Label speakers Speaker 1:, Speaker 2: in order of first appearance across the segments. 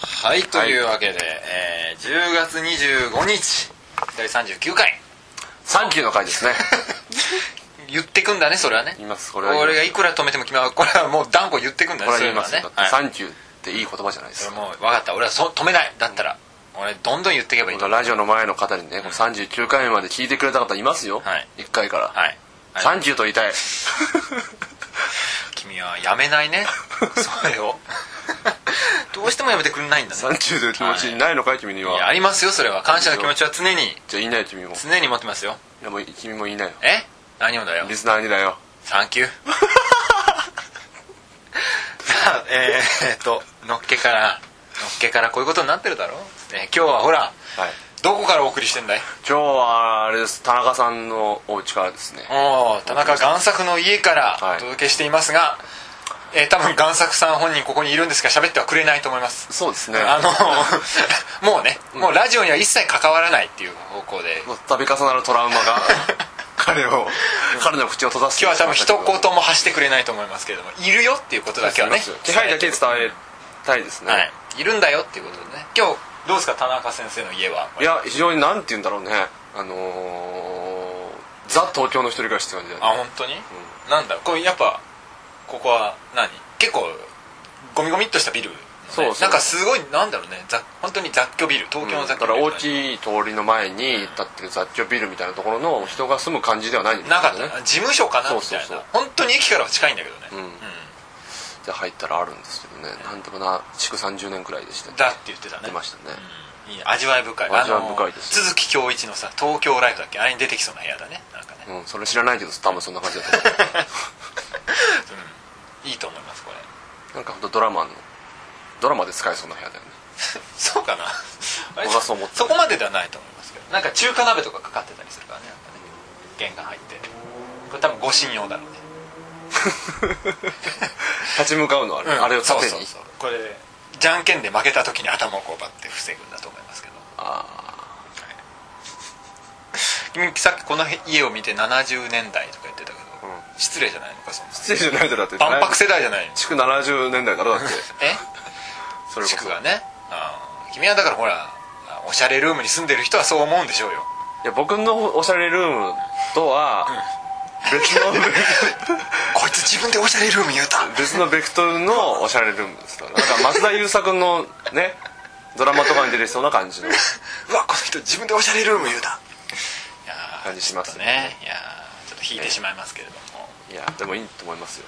Speaker 1: はい、というわけで、えー10月25日、第39回。
Speaker 2: サンキューの回です ね
Speaker 1: 言ってくんだね、それはね。
Speaker 2: 言いますこれは言います
Speaker 1: 俺がいくら止めても君は、これはもう断固言ってくんだ
Speaker 2: こ
Speaker 1: ね、
Speaker 2: れ
Speaker 1: そういうの
Speaker 2: 言いま
Speaker 1: は
Speaker 2: すよ
Speaker 1: ね
Speaker 2: だっ。て
Speaker 1: はい
Speaker 2: サンキューっていい言葉じゃないです
Speaker 1: それ
Speaker 2: か
Speaker 1: もう分かった。俺はそ止めない。だったら、俺、どんどん言っていけばいいと思う。
Speaker 2: ラジオの前の方にね、この39回目まで聞いてくれた方いますよ、
Speaker 1: はい
Speaker 2: 1回から、
Speaker 1: はい。はい
Speaker 2: サンキューと言いた い
Speaker 1: 君はやめないね それを どうしてもやめてくれないんだね
Speaker 2: サンキューという気持ちないのかい君に
Speaker 1: いやあ
Speaker 2: は
Speaker 1: りますよそれは感謝の気持ちは常に
Speaker 2: じゃあ言いないよ君もい
Speaker 1: 常に持ってますよ
Speaker 2: やもう君も言いないよ
Speaker 1: え何をだよ
Speaker 2: リスナーにだよ
Speaker 1: サンキュー さあえー、えーっとのっけからのっけからこういうことになってるだろ、ね、今日はほら
Speaker 2: はい
Speaker 1: どこからお送りしてんだい
Speaker 2: 今日はあれです田中さんのお家からですね
Speaker 1: おー田中贋作の家から
Speaker 2: はい
Speaker 1: お届けしていますが、えー多分贋作さん本人ここにいるんですが喋ってはくれないと思います
Speaker 2: そうですね
Speaker 1: あの もうね、もうラジオには一切関わらないっていう方向で
Speaker 2: もう度重なるトラウ マが彼を彼の口を閉ざす
Speaker 1: 今日は多分一
Speaker 2: そう
Speaker 1: 言も発してくれないと思いますけれどもいるよっていうことだけはね
Speaker 2: です気配だけ伝えたいですね、
Speaker 1: はい、いるんだよっていうことでね今日どうですか田中先生の家はい
Speaker 2: や非常になんて言うんだろうねあのー、ザ東京の一人暮らしって感じだよ
Speaker 1: あ
Speaker 2: ね
Speaker 1: 本当に、なんだこれやっぱここは何結構ゴミゴミっとしたビルのね、
Speaker 2: そうそう
Speaker 1: なんかすごいなんだろうねざ本当に雑居ビル東京の
Speaker 2: だ
Speaker 1: 雑
Speaker 2: か
Speaker 1: 居
Speaker 2: ら
Speaker 1: ビル、
Speaker 2: 大きい通りの前に立ってる雑居ビルみたいなところの人が住む感じではないんです
Speaker 1: な
Speaker 2: よ
Speaker 1: かっ
Speaker 2: ね
Speaker 1: た事務所かな
Speaker 2: そ
Speaker 1: み
Speaker 2: う
Speaker 1: た
Speaker 2: そ
Speaker 1: いうな
Speaker 2: そう
Speaker 1: 本当に駅からは近いんだけどね、
Speaker 2: んで入ったらあるんですけどねなんとかな築30年くらいでしたね
Speaker 1: だって言ってたね
Speaker 2: 出ましたね、
Speaker 1: いい味わい深い
Speaker 2: 味わい深いです
Speaker 1: あの都築恭一のさ東京ライフだっけあれに出てきそうな部屋だねなんかね、
Speaker 2: うん、それ知らないけど多分そんな感じだと思う
Speaker 1: いいと思いますこれ
Speaker 2: なんか本当ドラマのドラマで使えそうな部屋だよね
Speaker 1: そうかなあれ
Speaker 2: 僕はそう思ってる
Speaker 1: そこまでではないと思いますけどなんか中華鍋とかかかってたりするからねなんかね玄関入ってこれ多分護身用だろうね
Speaker 2: 立ち向かうのはあれ,、
Speaker 1: うん
Speaker 2: あれを縦に
Speaker 1: そうそうそうこれじゃんけんで負けた時に頭をこうバッて防ぐんだと思いますけど
Speaker 2: あ
Speaker 1: 君さっきこの家を見て70年代とか言ってたけど、
Speaker 2: うん
Speaker 1: 失礼じゃないのかそんな
Speaker 2: ー失礼じゃないだろだって
Speaker 1: 万博世代じゃないの
Speaker 2: 築70年代だろだって
Speaker 1: え
Speaker 2: それこ
Speaker 1: 地
Speaker 2: そ
Speaker 1: 区がねうん君はだからほらおしゃれルームに住んでる人はそう思うんでしょうよ
Speaker 2: いや僕のおしゃれルームとは別の
Speaker 1: こいつ自分でおしゃれルーム言うた
Speaker 2: 別のベクトルのおしゃれルームですからなんか松田優作のねドラマとかに出てきそうな感じの
Speaker 1: うわこの人自分でおしゃれルーム言うたいやー
Speaker 2: 感じします
Speaker 1: ちょ
Speaker 2: よ
Speaker 1: っとねいやーちょっと引いてしまいますけれども、
Speaker 2: いやでもいいと思 いますよ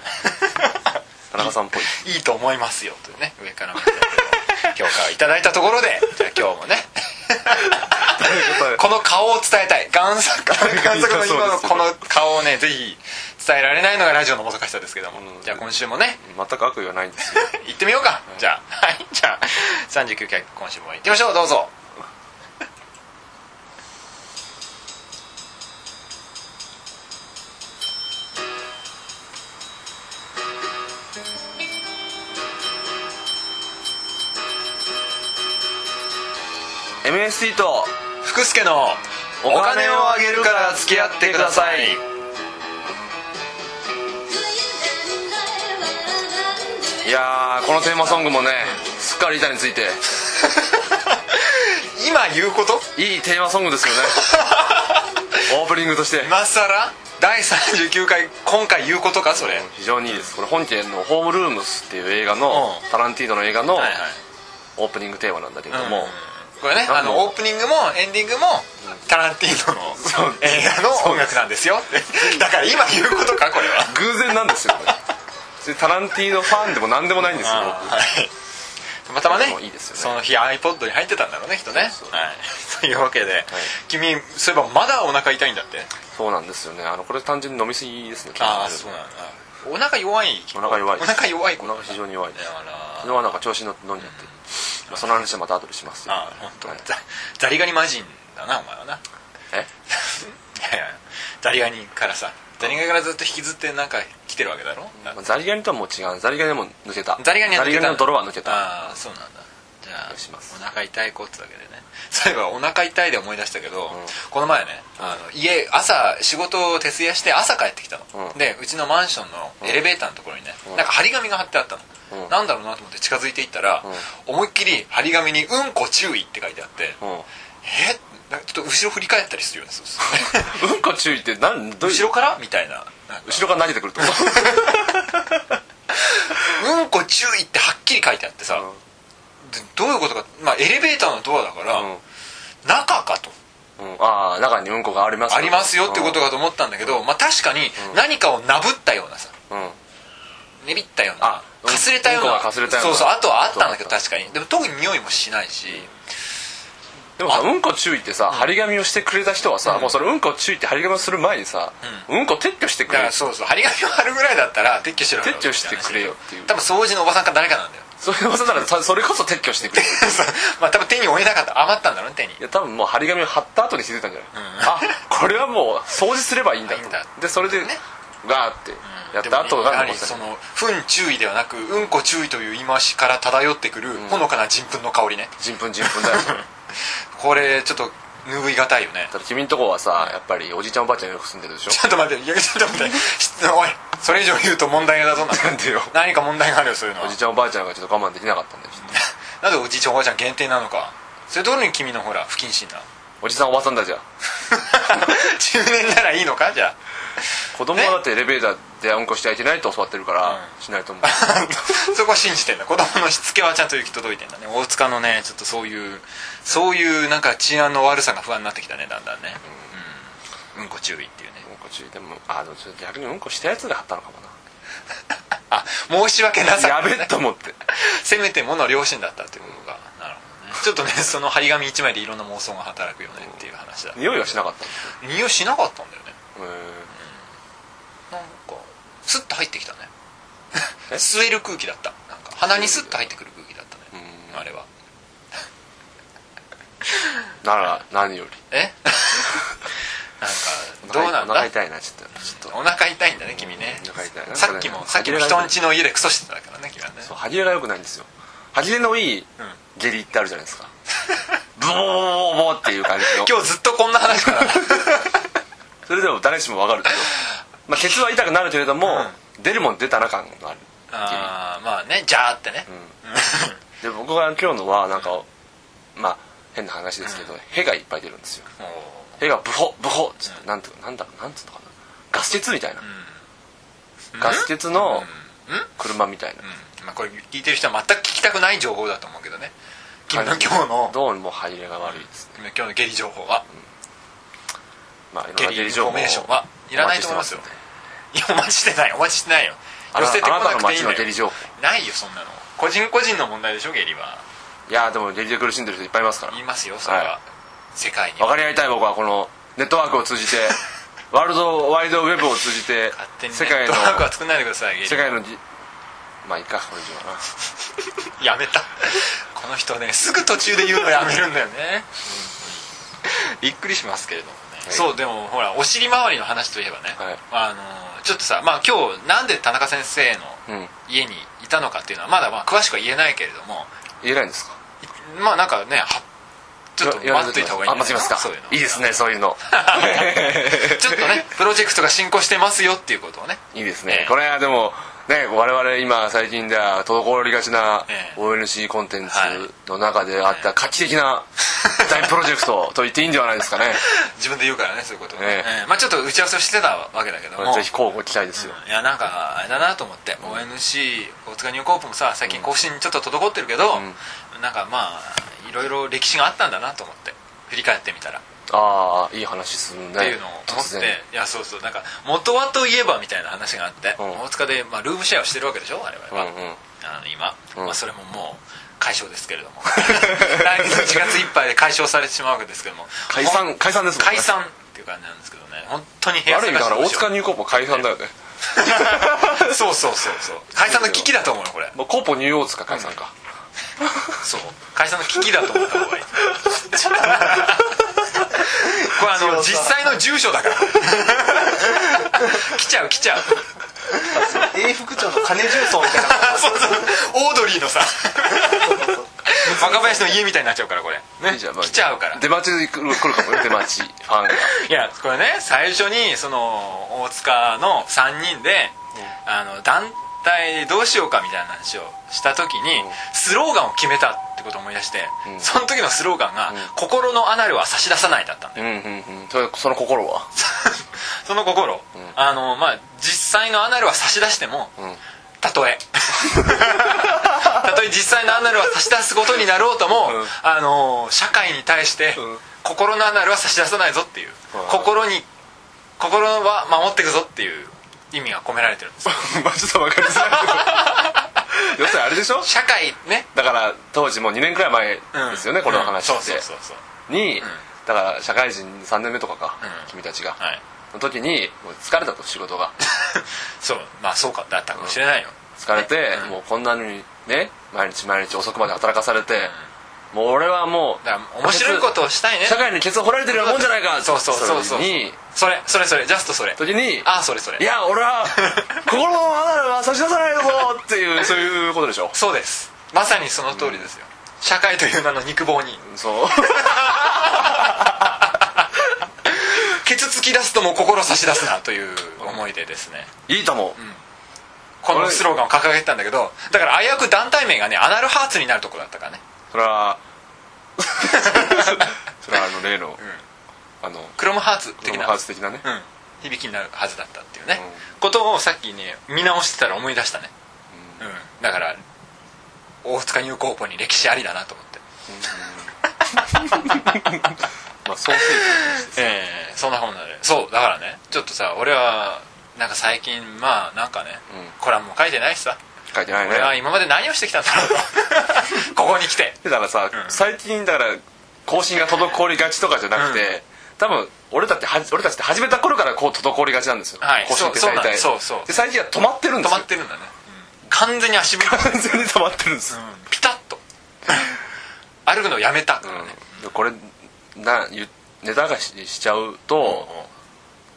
Speaker 2: 田中さんっぽい
Speaker 1: いいと思いますよというね上から目線の評価をいただいたところで じゃあ今日もねこの顔を伝えたい贋作 贋作の今のこの顔をねぜひ伝えられないのがラジオのもどかしさですけども、
Speaker 2: うん
Speaker 1: じゃあ今週もね
Speaker 2: 全く悪意はないんですよ
Speaker 1: 行ってみようか、じゃあ はいじゃあ39回今週も行ってみましょうどうぞ
Speaker 2: 「MST と
Speaker 1: 福助のお金をあげるから付き合ってください
Speaker 3: Thank
Speaker 2: いやーこのテーマソングもねすっかり板について
Speaker 1: 今言うこと
Speaker 2: いいテーマソングです よねオープニングとして
Speaker 1: 今さら第39回今回言うことかそれ、
Speaker 2: 非常にいいですこれ本家の「ホームルームス」っていう映画の
Speaker 1: うん
Speaker 2: タランティーノの映画の
Speaker 1: はいはい
Speaker 2: オープニングテーマなんだけれど
Speaker 1: も
Speaker 2: も、
Speaker 1: うこれねあのオープニングもエンディングもタランティーノの映画の音楽なんですよってだから今言うことかこれは
Speaker 2: 偶然なんですよこれ別にタランティーノファンでも何でもないんですよ
Speaker 1: あーはいたまたまね
Speaker 2: でもいいですよね
Speaker 1: その日 iPod に入ってたんだろうね人ねはい、というわけで、君そういえばまだお腹痛いんだって
Speaker 2: 僕そうなんですよねあのこれ単純に飲みすぎですね
Speaker 1: なんだお腹弱い
Speaker 2: お腹弱い
Speaker 1: お
Speaker 2: です
Speaker 1: 腹弱い
Speaker 2: お
Speaker 1: 子だ
Speaker 2: 腹非常に弱いです
Speaker 1: から
Speaker 2: 昨日はなんか調子に乗って飲んじゃって、まあ、その話はまた後でしますよ
Speaker 1: あ本当
Speaker 2: はい
Speaker 1: ざザリガニ魔人だなお前はな
Speaker 2: え
Speaker 1: いやいやザリガニからさザリガニからずっと引きずってなんか来てるわけだろだって
Speaker 2: まあザリガニとはもう違うザリガニはもう抜けた
Speaker 1: ザリガニは抜けた
Speaker 2: の泥は抜けた
Speaker 1: ああそうなんだじゃあ
Speaker 2: お願いします
Speaker 1: お腹痛い子っつうわけでねそういえばお腹痛いで思い出したけど、この前ねあの家朝仕事を徹夜して朝帰ってきたの、
Speaker 2: うん
Speaker 1: でうちのマンションのエレベーターのところにね、なんか張り紙が貼ってあったの、
Speaker 2: うん
Speaker 1: なんだろうなと思って近づいていったら、思いっきり張り紙に「うんこ注意」って書いてあって、
Speaker 2: うん
Speaker 1: えなんかちょっと後ろ振り返ったりするよねそうするとね
Speaker 2: うんこ注意って何どういう
Speaker 1: 後ろからみたいななんか
Speaker 2: 後ろから投げてくるってこと
Speaker 1: うんこ注意ってはっきり書いてあってさ、
Speaker 2: うん
Speaker 1: でどういうことか、まあ、エレベーターのドアだから、中かと
Speaker 2: うん、うんああ中にうんこがあります
Speaker 1: ありますよってこと
Speaker 2: が
Speaker 1: かと思ったんだけど、まあ、確かに何かをなぶったようなさ
Speaker 2: うん、うん
Speaker 1: ねびったような
Speaker 2: あうん
Speaker 1: かすれたよう
Speaker 2: うんこ
Speaker 1: な
Speaker 2: がかすれたような
Speaker 1: そうそうあとはあったんだけど
Speaker 2: そうだ
Speaker 1: 確かにでも特に匂いもしないし
Speaker 2: でもさうんこ注意ってさ張り紙をしてくれた人はさ、もうそれうんこ注意って張り紙をする前にさ、うん、こ撤去してく
Speaker 1: だか
Speaker 2: れ
Speaker 1: らそうそう張り紙を貼るぐらいだったら撤去しろよ
Speaker 2: 撤去してくれよっていう
Speaker 1: 多分掃除のおばさんか誰か なんだよ
Speaker 2: それをさらそそれこそ撤去してくれる
Speaker 1: そうまあ多分手に負えなかった余ったんだろうね手に
Speaker 2: いや多分もう張り紙を貼った後に気づいたんじゃない、あこれはもう掃除すればいいんだと
Speaker 1: いいんだ
Speaker 2: でそれで
Speaker 1: ね
Speaker 2: ガーってやっ
Speaker 1: で
Speaker 2: た
Speaker 1: も
Speaker 2: 後
Speaker 1: やは
Speaker 2: 何
Speaker 1: り
Speaker 2: もした
Speaker 1: その「糞注意」ではなく「うんこ注意」という言い回しから漂ってくるほのかな人糞の香りね
Speaker 2: 人糞人 糞だよ
Speaker 1: これちょっと拭いがたいよね
Speaker 2: ただ君んとこはさやっぱりおじいちゃんおばあちゃんがよく住んでるでしょ
Speaker 1: ちょっと待っていやちょっと待って しおいそれ以上言うと問題が出そうになる
Speaker 2: なんでよ
Speaker 1: 何か問題があるよそういうのは
Speaker 2: おじいちゃんおばあちゃんがちょっと我慢できなかったんだよちょっと
Speaker 1: なぜおじいちゃんおばあちゃん限定なのかそれどうに君のほ ら不謹慎な
Speaker 2: おじさんおばさんだじゃん
Speaker 1: 中年ならいいのかじゃ
Speaker 2: 子供はだってエレベーターでうんこしてはいけないと教わってるから、しないと思う
Speaker 1: あ そこは信じてんだ子供のしつけはちゃんと行き届いてんだね大塚のねちょっとそういうそういうなんか治安の悪さが不安になってきたねだんだんねうん、うんこ注意っていうね
Speaker 2: うんこ注意でもあでもちょっと逆にうんこしたやつが貼ったのかもな
Speaker 1: あ申し訳なさ
Speaker 2: や
Speaker 1: く
Speaker 2: べえと思って
Speaker 1: せめてもの両親だったっていうことがなるほどねちょっとねその張り紙一枚でいろんな妄想が働くよねっていう話だ
Speaker 2: 匂いはしなかった
Speaker 1: 匂いしなかったんだよね
Speaker 2: のへ
Speaker 1: なんかスッと入ってきたね
Speaker 2: え
Speaker 1: 吸える空気だったなんか鼻にスッと入ってくる空気だったね
Speaker 2: うん
Speaker 1: あれは
Speaker 2: えなら何より
Speaker 1: え なんかどうなん
Speaker 2: お腹
Speaker 1: だ
Speaker 2: 痛いなちょっとちょっと
Speaker 1: お腹痛いんだね君ね
Speaker 2: お腹痛いなんかね
Speaker 1: さっきもさっきも人ん家の家でクソしてたからね君はね
Speaker 2: そう歯切れが良くないんですよ歯切れのいい下痢ってあるじゃないですかブボボボボボっていう感じの
Speaker 1: 今日ずっとこんな話から
Speaker 2: それでも誰しも分かるけど、まあ、ケツは痛くなるけれども、出るもん出たな感がある
Speaker 1: あーまあねじゃーってね、
Speaker 2: で僕が今日のはなんか、まあ変な話ですけど、屁がいっぱい出るんですよ
Speaker 1: も
Speaker 2: 屁がブホブホっつって、なんていうかなんだろうなんつうのかなガス欠みたいな、ガス欠の車みたい
Speaker 1: う、
Speaker 2: な、
Speaker 1: うんまあ、これ聞いてる人は全く聞きたくない情報だと思うけどね君の今日の
Speaker 2: どうも歯切れが悪いですね、
Speaker 1: 君の今日の下痢情報は
Speaker 2: まあ、いろん
Speaker 1: ゲ
Speaker 2: な
Speaker 1: リ
Speaker 2: 下
Speaker 1: イン
Speaker 2: 痢
Speaker 1: フ
Speaker 2: 情報
Speaker 1: ォメーションはいらないと思いますよいやお待ちしてないお待ちしてないよ
Speaker 2: あ
Speaker 1: 寄
Speaker 2: な
Speaker 1: せてこ
Speaker 2: あなた
Speaker 1: な
Speaker 2: の
Speaker 1: くていいんだ
Speaker 2: 街の
Speaker 1: よ
Speaker 2: 下痢情報
Speaker 1: ないよそんなの個人個人の問題でしょ下痢はい
Speaker 2: やーでも下痢で苦しんでる人いっぱいいますから
Speaker 1: 言いますよそれは、
Speaker 2: は
Speaker 1: 世界に
Speaker 2: 分かり合いたい僕はこのネットワークを通じ てワールドワイドウェブを通じて
Speaker 1: 勝手に
Speaker 2: 世
Speaker 1: ネ
Speaker 2: 界
Speaker 1: ッ
Speaker 2: の
Speaker 1: トワークは作んないでください下痢
Speaker 2: 世界のじまあいいかこれ以上はな
Speaker 1: やめたこの人ねすぐ途中で言うのやめるんだよね、びっくりしますけれどもね、
Speaker 2: はい
Speaker 1: そうでもほらお尻周りの話といえばね、
Speaker 2: はい
Speaker 1: あのーちょっとさ、まあ、今日なんで田中先生
Speaker 2: う
Speaker 1: の
Speaker 2: ん
Speaker 1: 家にいたのかっていうのはまだまあ詳しくは言えないけれども
Speaker 2: 言えないんですか
Speaker 1: いまあなんかねはちょっと
Speaker 2: 言わ
Speaker 1: 待っといた方がいい
Speaker 2: あ待ちますか
Speaker 1: そういうの
Speaker 2: いいですねそういう の
Speaker 1: ちょっとねプロジェクトが進行してますよっていうことをね
Speaker 2: いいです
Speaker 1: え
Speaker 2: ね
Speaker 1: え
Speaker 2: これはでもね我々今最近では滞りがちな
Speaker 1: ええ
Speaker 2: ONC コンテンツ
Speaker 1: はい
Speaker 2: の中であった画期的な大プロジェクト と言っていいんではないですかね
Speaker 1: 自分で言うからねそういうことをね、
Speaker 2: ええ
Speaker 1: ええまあちょっと打ち合わせをしてたわけだけど
Speaker 2: こ
Speaker 1: も
Speaker 2: れぜひ交互期待ですよ
Speaker 1: うんいやなんかあれだなと思って、ONC 大塚ニューコープもさ最近更新ちょっと滞ってるけど、なんかまあいろいろ歴史があったんだなと思って振り返ってみたら、
Speaker 2: ああいい話するね
Speaker 1: っていうのを思っていやそうそうなんか元はといえばみたいな話があって、
Speaker 2: うん
Speaker 1: 大塚で、まあ、ルームシェアをしてるわけでしょ我々は、
Speaker 2: うんうん
Speaker 1: あの今、
Speaker 2: ん
Speaker 1: まあ、それももう解消ですけれども 来年の1月いっぱいで解消されてしまうわけですけども
Speaker 2: 解散解散ですもんね
Speaker 1: 解散っていう感じなんですけどね本当に部屋
Speaker 2: ある
Speaker 1: 探
Speaker 2: 意
Speaker 1: し
Speaker 2: 味だから
Speaker 1: どう
Speaker 2: 大
Speaker 1: しよう
Speaker 2: 塚ニューコーポ解散だよね、
Speaker 1: そうそうそうそう解散の危機だと思うよこれ
Speaker 2: まあ、コーポニューオーツか解散か、
Speaker 1: そう解散の危機だと思った 方がいいこれあの実際の住所だ から来ちゃう来ちゃう
Speaker 3: 永福町の金重曹みたい な
Speaker 1: そうそうオードリーのさ若林の家みたいになっちゃうからこれね
Speaker 2: じゃあまあ
Speaker 1: 来ちゃうから
Speaker 2: 出待ちで来る来るかもよ出待ちファンが
Speaker 1: いやこれね最初にその大塚の3人で、あの団体どうしようかみたいな話をした時に、
Speaker 2: うん
Speaker 1: スローガンを決めたってことを思い出して、
Speaker 2: うん
Speaker 1: その時のスローガンが「
Speaker 2: ん
Speaker 1: 心のアナルは差し出さない」だったんだよ、
Speaker 2: うんうんうんそれその心は
Speaker 1: その心、
Speaker 2: ん
Speaker 1: あのまあ実際のアナルは差し出しても、
Speaker 2: うん
Speaker 1: た とえたとえ実際のアナルは差し出すことになろうとも、
Speaker 2: うん
Speaker 1: あの社会に対して、
Speaker 2: うん
Speaker 1: 心のアナルは差し出さないぞっていう、
Speaker 2: うん
Speaker 1: 心に心は守っていくぞっていう意味が込められてるんです よ
Speaker 2: まあちょっと分かり づらいけど要するにあれでしょ
Speaker 1: 社会ね、
Speaker 2: だから当時もう2年くらい前
Speaker 1: うん
Speaker 2: ですよね、この話って、
Speaker 1: うんそうそうそうそう
Speaker 2: に、だから社会人3年目とかか、
Speaker 1: うん
Speaker 2: 君たちが、
Speaker 1: はい
Speaker 2: の時にもう疲れたと仕事が
Speaker 1: そうまあそうかだったかもしれないよ、
Speaker 2: 疲れて、
Speaker 1: うん
Speaker 2: もうこんなのにね毎日毎日遅くまで働かされて、もう俺はもう
Speaker 1: だから面白いことをしたいね
Speaker 2: 社会にケツを掘られてるようなもんじゃないか
Speaker 1: そうそうそうそう
Speaker 2: それに
Speaker 1: それそれそれジャストそれ
Speaker 2: 時に
Speaker 1: ああそれそれ
Speaker 2: いや 俺は心の穴は差し出さないぞっていうそういうことでしょ
Speaker 1: そうですまさにその通りですよ、社会という名の肉棒に
Speaker 2: そう
Speaker 1: ケツ突き出すとも心差し出すなという思いでですね
Speaker 2: いいと思う、
Speaker 1: このスローガンを掲げてたんだけどだから危うく団体名がねアナルハーツになるとこだったからね
Speaker 2: それ はそれはあの例の、あの
Speaker 1: クロムハーツ
Speaker 2: クロ
Speaker 1: 的
Speaker 2: ム
Speaker 1: な
Speaker 2: ハーツ的なね、
Speaker 1: うん、響きになるはずだったっていうね、
Speaker 2: う
Speaker 1: ことをさっきね見直してたら思い出したね、うんだから大塚入高校に歴史ありだなと思って、
Speaker 2: まあソーセージ
Speaker 1: ええそんな本なのでそうだからねちょっとさ俺はなんか最近まあなんかね、
Speaker 2: うん
Speaker 1: コラムも書いてないしさ
Speaker 2: 書いてないね
Speaker 1: 俺は今まで何をしてきたんだろう とここに来て
Speaker 2: だからさ、
Speaker 1: うん
Speaker 2: 最近だから更新が滞りがちとかじゃなくて、
Speaker 1: うん
Speaker 2: 多分俺たちってはじ俺たちって始めた頃からこう滞りがちなんですよ、
Speaker 1: はい
Speaker 2: 更新って
Speaker 1: そう
Speaker 2: 大体
Speaker 1: そうなんですそうそう
Speaker 2: で最近は止まってるんで
Speaker 1: 止
Speaker 2: すよ
Speaker 1: まってるんだね、完全に足踏み、
Speaker 2: 完 全に止まってるんですよ、
Speaker 1: ピタッと歩くのをやめたからね、
Speaker 2: うんこれなゆネタがししちゃうと、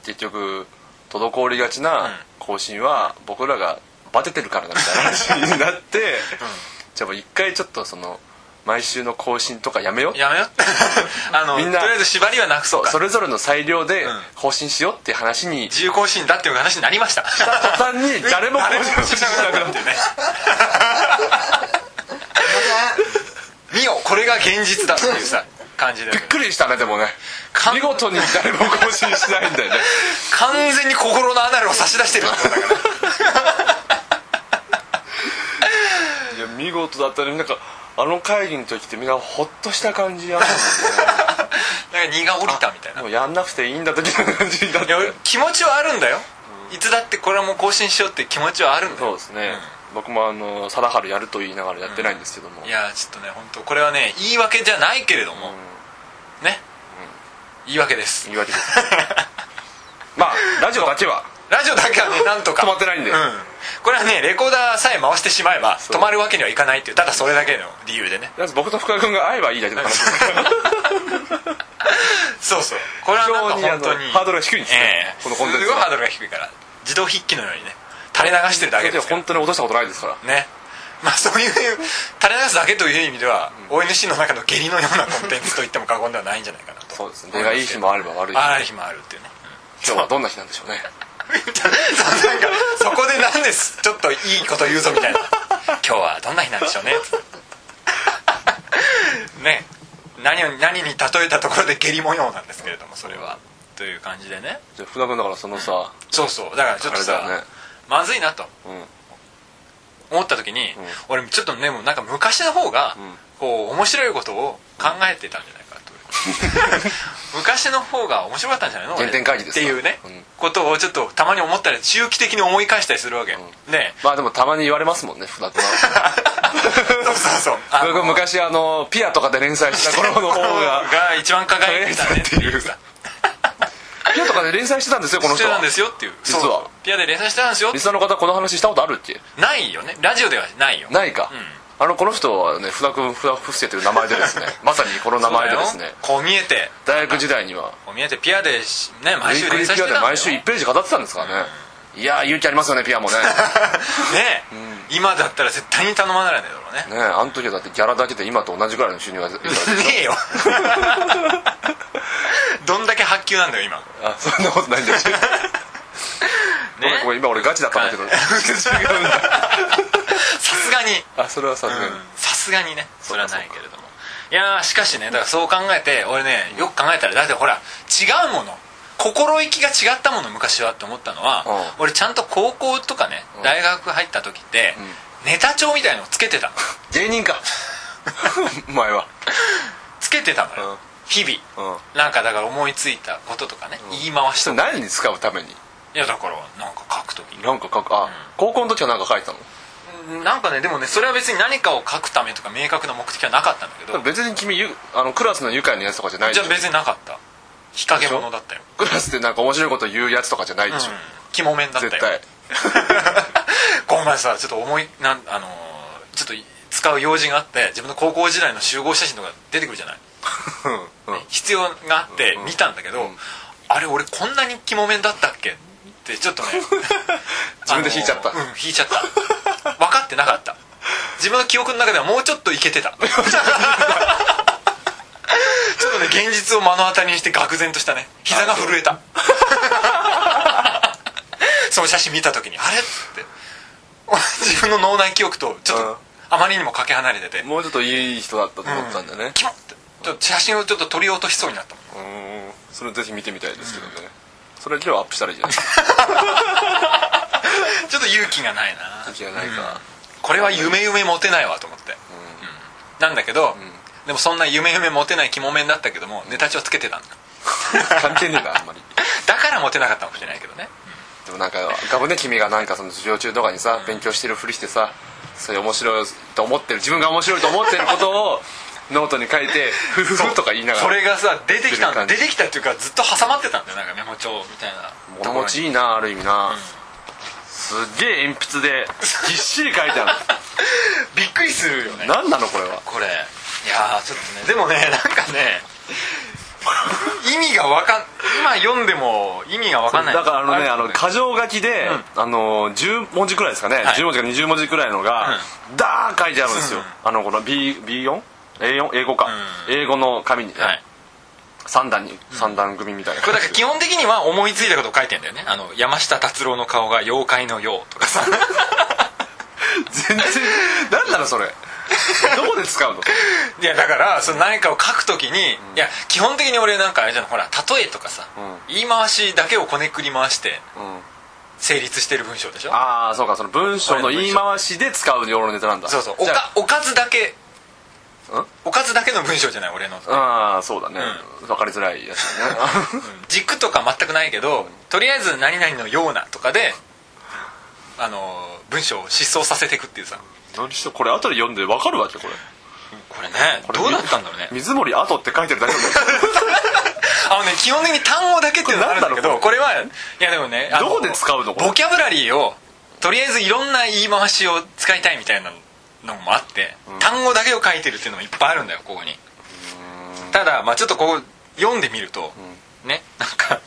Speaker 2: 結局滞りがちな更新は僕らがバテてるからだみたいな話にな って、じゃあもう一回ちょっとその毎週の更新とかやめよう
Speaker 1: やめ よあの
Speaker 2: みんな
Speaker 1: とりあえず縛りはなくそうか
Speaker 2: それぞれの裁量で
Speaker 1: ん
Speaker 2: 更新しようっていう話に
Speaker 1: 自由更新だっていう話になりました
Speaker 2: 途端に 誰も更
Speaker 1: 誰も
Speaker 2: 新
Speaker 1: し
Speaker 2: し
Speaker 1: な
Speaker 2: な
Speaker 1: く
Speaker 2: く
Speaker 1: な
Speaker 2: な
Speaker 1: っ
Speaker 2: ってて
Speaker 1: ね見よこれが現実だっていうさ感じで
Speaker 2: びっくりしたねでもね
Speaker 1: 完
Speaker 2: 見事に誰も更新しないんだよね
Speaker 1: 完全に心のアナルを差し出してるってことだから
Speaker 2: いや見事だったねなんかあの会議の時ってみんなほっとした感じやったも
Speaker 1: なんか荷が降りたみたいなん
Speaker 2: ねもうやんなくていいんだ時の感じになっ
Speaker 1: いや
Speaker 2: て
Speaker 1: 気持ちはあるんだよ、いつだってこれはもう更新しようっていう気持ちはあるんだ
Speaker 2: そう
Speaker 1: よ
Speaker 2: ですね、僕もあの貞治やると言いながらやってないんですけども、
Speaker 1: いやちょっとね本当これはね言い訳じゃないけれども、ね、言い訳です
Speaker 2: 言い訳です まあラジオだけは
Speaker 1: ラジオだけはねなんとか
Speaker 2: 止まってないんで
Speaker 1: うん、これはねレコーダーさえ回してしまえば
Speaker 2: そう
Speaker 1: 止まるわけにはいかないっていうただそれだけの理由でね
Speaker 2: まず僕と福田君が会えばいいだけの 話です
Speaker 1: そうそうこれはなんか本当に
Speaker 2: 非常にあのハードルが低いんです
Speaker 1: え
Speaker 2: ね
Speaker 1: え
Speaker 2: このコンテンツ
Speaker 1: す
Speaker 2: は
Speaker 1: ごいハードルが低いから自動筆記のようにね垂れ流してるだけですから
Speaker 2: 本当に落としたことないですから
Speaker 1: ねまあそういう垂れ流すだけという意味では、ONC の中の下痢のようなコンテンツと言っても過言ではないんじゃないかなと
Speaker 2: そうですね出がいい日もあれば悪い日も
Speaker 1: ある日もあるっていうね
Speaker 2: 今日はどんな日なんでしょうね
Speaker 1: なんかそこで何ですちょっといいこと言うぞみたいな今日はどんな日なんでしょうねね何を何に例えたところで下痢模様なんですけれどもそれはという感じでね
Speaker 2: じゃあ福田君だからそのさ
Speaker 1: そうそうだからちょっとさ
Speaker 2: あれだよね
Speaker 1: まずいなと
Speaker 2: うん
Speaker 1: 思った時に、俺ちょっとねもうなんか昔の方が、こう面白いことを考えてたんじゃないかと 昔の方が面白かったんじゃないの俺
Speaker 2: 原点回帰です
Speaker 1: っ
Speaker 2: か
Speaker 1: ていうね、
Speaker 2: うん
Speaker 1: ことをちょっとたまに思ったり周期的に思い返したりするわけ、ね
Speaker 2: まあでもたまに言われますもんね福田君は
Speaker 1: そうそうそうあ
Speaker 2: 福
Speaker 1: の
Speaker 2: 田君昔あのピアとかで連載した頃の方が
Speaker 1: が一番輝いてたねっていうさ
Speaker 2: ピアとかで連載してたんですよこの
Speaker 1: し
Speaker 2: 人
Speaker 1: て
Speaker 2: は
Speaker 1: たんですよっていう
Speaker 2: 実は
Speaker 1: そうピアで連載してたんですよ
Speaker 2: リスナーの方この話したことあるっけ
Speaker 1: ないよねラジオではないよ
Speaker 2: ないか、あのこの人はね福田君福田福生という名前でで すねまさにこの名前でですね
Speaker 1: そうだよこう見えて
Speaker 2: 大学時代には
Speaker 1: こう見えてピアでしね毎
Speaker 2: ウィ
Speaker 1: 週
Speaker 2: ークリ
Speaker 1: 連載
Speaker 2: ー
Speaker 1: し
Speaker 2: ピ
Speaker 1: てた
Speaker 2: アで
Speaker 1: んだよ
Speaker 2: 毎週1ページ語ってたんですからね、いやー勇気ありますよねピアもね
Speaker 1: ねえ、今だったら絶対に頼まないだろうね
Speaker 2: ねえあの時はだってギャラだけで今と同じぐらいの収入が 得たわけでしょ
Speaker 1: ねえよどんだけ発給なんだよ今 ね
Speaker 2: あそんなことないんだよごめんごめん今俺ガチだったんだけど違うんだ
Speaker 1: さすがに
Speaker 2: あそれはさすがに
Speaker 1: さすがにねそれはないけれどもいやーしかしねだからそう考えて俺ねよく考えたらだってほら違うもの心意気が違ったもの昔はって思ったのは、
Speaker 2: う
Speaker 1: 俺ちゃんと高校とかね、
Speaker 2: ん
Speaker 1: 大学入った時って、ネタ帳みたいのをつけてたの
Speaker 2: 芸人 かお前は
Speaker 1: つけてたのよ、
Speaker 2: うん
Speaker 1: 日々、
Speaker 2: うん
Speaker 1: なんかだから思いついたこととかね、言い回しと
Speaker 2: それ
Speaker 1: か
Speaker 2: 何に使うために
Speaker 1: いやだからなんか書く時
Speaker 2: なんか書くあ高校の時は何か書いてたの
Speaker 1: なんかねでもねそれは別に何かを書くためとか明確な目的はなかったんだけど
Speaker 2: 別に君ゆあのクラスの愉快なやつとかじゃない
Speaker 1: じ
Speaker 2: で
Speaker 1: ゃ
Speaker 2: し
Speaker 1: あ
Speaker 2: ょ
Speaker 1: 別になかった日陰者だったよ、
Speaker 2: クラスでなんか面白いこと言うやつとかじゃないでしょ
Speaker 1: うん、肝面だったよ
Speaker 2: 絶対
Speaker 1: ごめんなさいちょっと思いなんあのーちょっと使う用事があって自分の高校時代の集合写真とか出てくるじゃない
Speaker 2: うんうん
Speaker 1: 必要があって見たんだけど、あれ俺こんなに肝面だったっけってちょっとね
Speaker 2: 自分で引いちゃった
Speaker 1: あのーうん引いちゃった分かってなかった自分の記憶の中ではもうちょっといけ てたちょっとね現実を目の当たりにして愕然としたね膝が震えたその写真見た時にあれって自分の脳内記憶とちょっ
Speaker 2: うん
Speaker 1: とあまりにもかけ離れてて、
Speaker 2: もうちょっといい人だったと思ったんだね
Speaker 1: キモってちょっと写真をちょっと撮り落としそうになったもん
Speaker 2: うんそれぜひ見てみたいですけどねそれ今日アップしたらいいじゃない
Speaker 1: ちょっと勇気が ないな
Speaker 2: 勇気がないか
Speaker 1: これは夢夢持てないわと思って、うんなんだけど、でもそんな夢夢持てない肝面だったけどもネタ帳つけてたんだ
Speaker 2: 関係ねえなあんまり
Speaker 1: だから持てなかったかもしれないけどね
Speaker 2: でもなんかガブね君がなんかその授業中とかにさ勉強してるふりしてさそういう面白いと思ってる自分が面白いと思ってることをノートに書い て「ふふふ」とか言いながら
Speaker 1: それがさ出てきたんだ
Speaker 2: 出
Speaker 1: 出
Speaker 2: る
Speaker 1: て
Speaker 2: 感じ
Speaker 1: きたっていうかずっと挟まってたんだよなんかメモ帳みたいな
Speaker 2: 物持ちいいなある意味な、すっげえ鉛筆でぎっしり書いてあ
Speaker 1: びっくりするよね
Speaker 2: る何なのこれは
Speaker 1: これいやーちょっとねでもねなんかね意味がわかん今読んでも意味がわかんない
Speaker 2: だからあのねあの
Speaker 1: か
Speaker 2: 箇条書きで、あの10文字くらいですかね、
Speaker 1: はい
Speaker 2: 10文字か20文字くらいのが、ダーッ書いてあるんですよ、あのこの B B4A4 英語か、
Speaker 1: うん
Speaker 2: 英語の紙に、
Speaker 1: はい
Speaker 2: 三段に三段組みたいな
Speaker 1: これだ
Speaker 2: 感じ
Speaker 1: から基本的には思いついたことを書いてんだよねあの山下達郎の顔が妖怪のようとかさ
Speaker 2: 全然何なのそれどこで使 うの
Speaker 1: いやだからその何かを書くときに、いや基本的に俺なんかあれじゃんほら例えとかさ、
Speaker 2: う
Speaker 1: 言い回しだけをこねくり回して
Speaker 2: うん
Speaker 1: 成立してる文章でしょ
Speaker 2: ああそうかその文章の言い回しで使う用のネタなんだ
Speaker 1: そうそうお
Speaker 2: じゃ
Speaker 1: かおかずだけ
Speaker 2: ん
Speaker 1: おかずだけの文章じゃない俺の、
Speaker 2: ああーそうだね、分かりづらいやつだね
Speaker 1: 軸とか全くないけどとりあえず何々のようなとかであの文章を失踪させていくっていうさ
Speaker 2: 何しろこれ後で読んで分かるわけこれ
Speaker 1: これね
Speaker 2: これ
Speaker 1: どうだったんだろうね
Speaker 2: 水森後って書いてるだけだ
Speaker 1: あのね基本的に単語だけっていうのがあるんだけ
Speaker 2: これ
Speaker 1: ど
Speaker 2: 何
Speaker 1: これはいやでもねあの
Speaker 2: どこで使うのこれ
Speaker 1: ボキャブラリーをとりあえずいろんな言い回しを使いたいみたいなのもあって、単語だけを書いてるっていうのもいっぱいあるんだよここにただまあちょっとこう読んでみると、ねなんか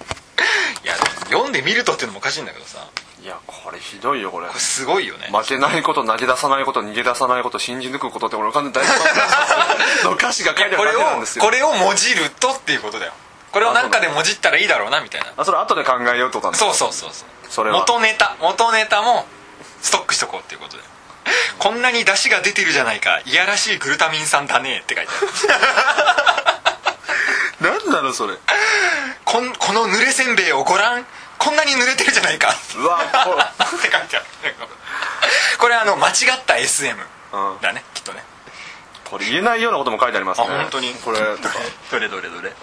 Speaker 1: いや読んでみるとっていうのもおかしいんだけどさ
Speaker 2: もんいやこれひどいよこれ
Speaker 1: これすごいよね、
Speaker 2: 負けないこと投げ出さないこと逃げ出さないこと信じ抜くことってこれ完全に大事の歌詞が書いてあ
Speaker 1: こ
Speaker 2: る
Speaker 1: れ
Speaker 2: だけなん
Speaker 1: を
Speaker 2: ですよ
Speaker 1: これをもじるとっていうことだよこれをなんかでもじったらいいだろうなみたいな
Speaker 2: あそれ後で考えようってことなんだ
Speaker 1: そうそうそうそう
Speaker 2: それは
Speaker 1: 元ネタ元ネタもストックしとこうっていうことでこんなに出汁が出てるじゃないかいやらしいグルタミン酸だねって書いてある
Speaker 2: 何なのそれ
Speaker 1: こんこの濡れせんべいをご覧こんなに濡れてるじゃないかって
Speaker 2: うわこれ
Speaker 1: 書いてあるこれあの間違った SM
Speaker 2: うん
Speaker 1: だね、きっとね
Speaker 2: これ言えないようなことも書いてあります
Speaker 1: あ
Speaker 2: ね
Speaker 1: 本当に
Speaker 2: これとか
Speaker 1: どれどれどれこ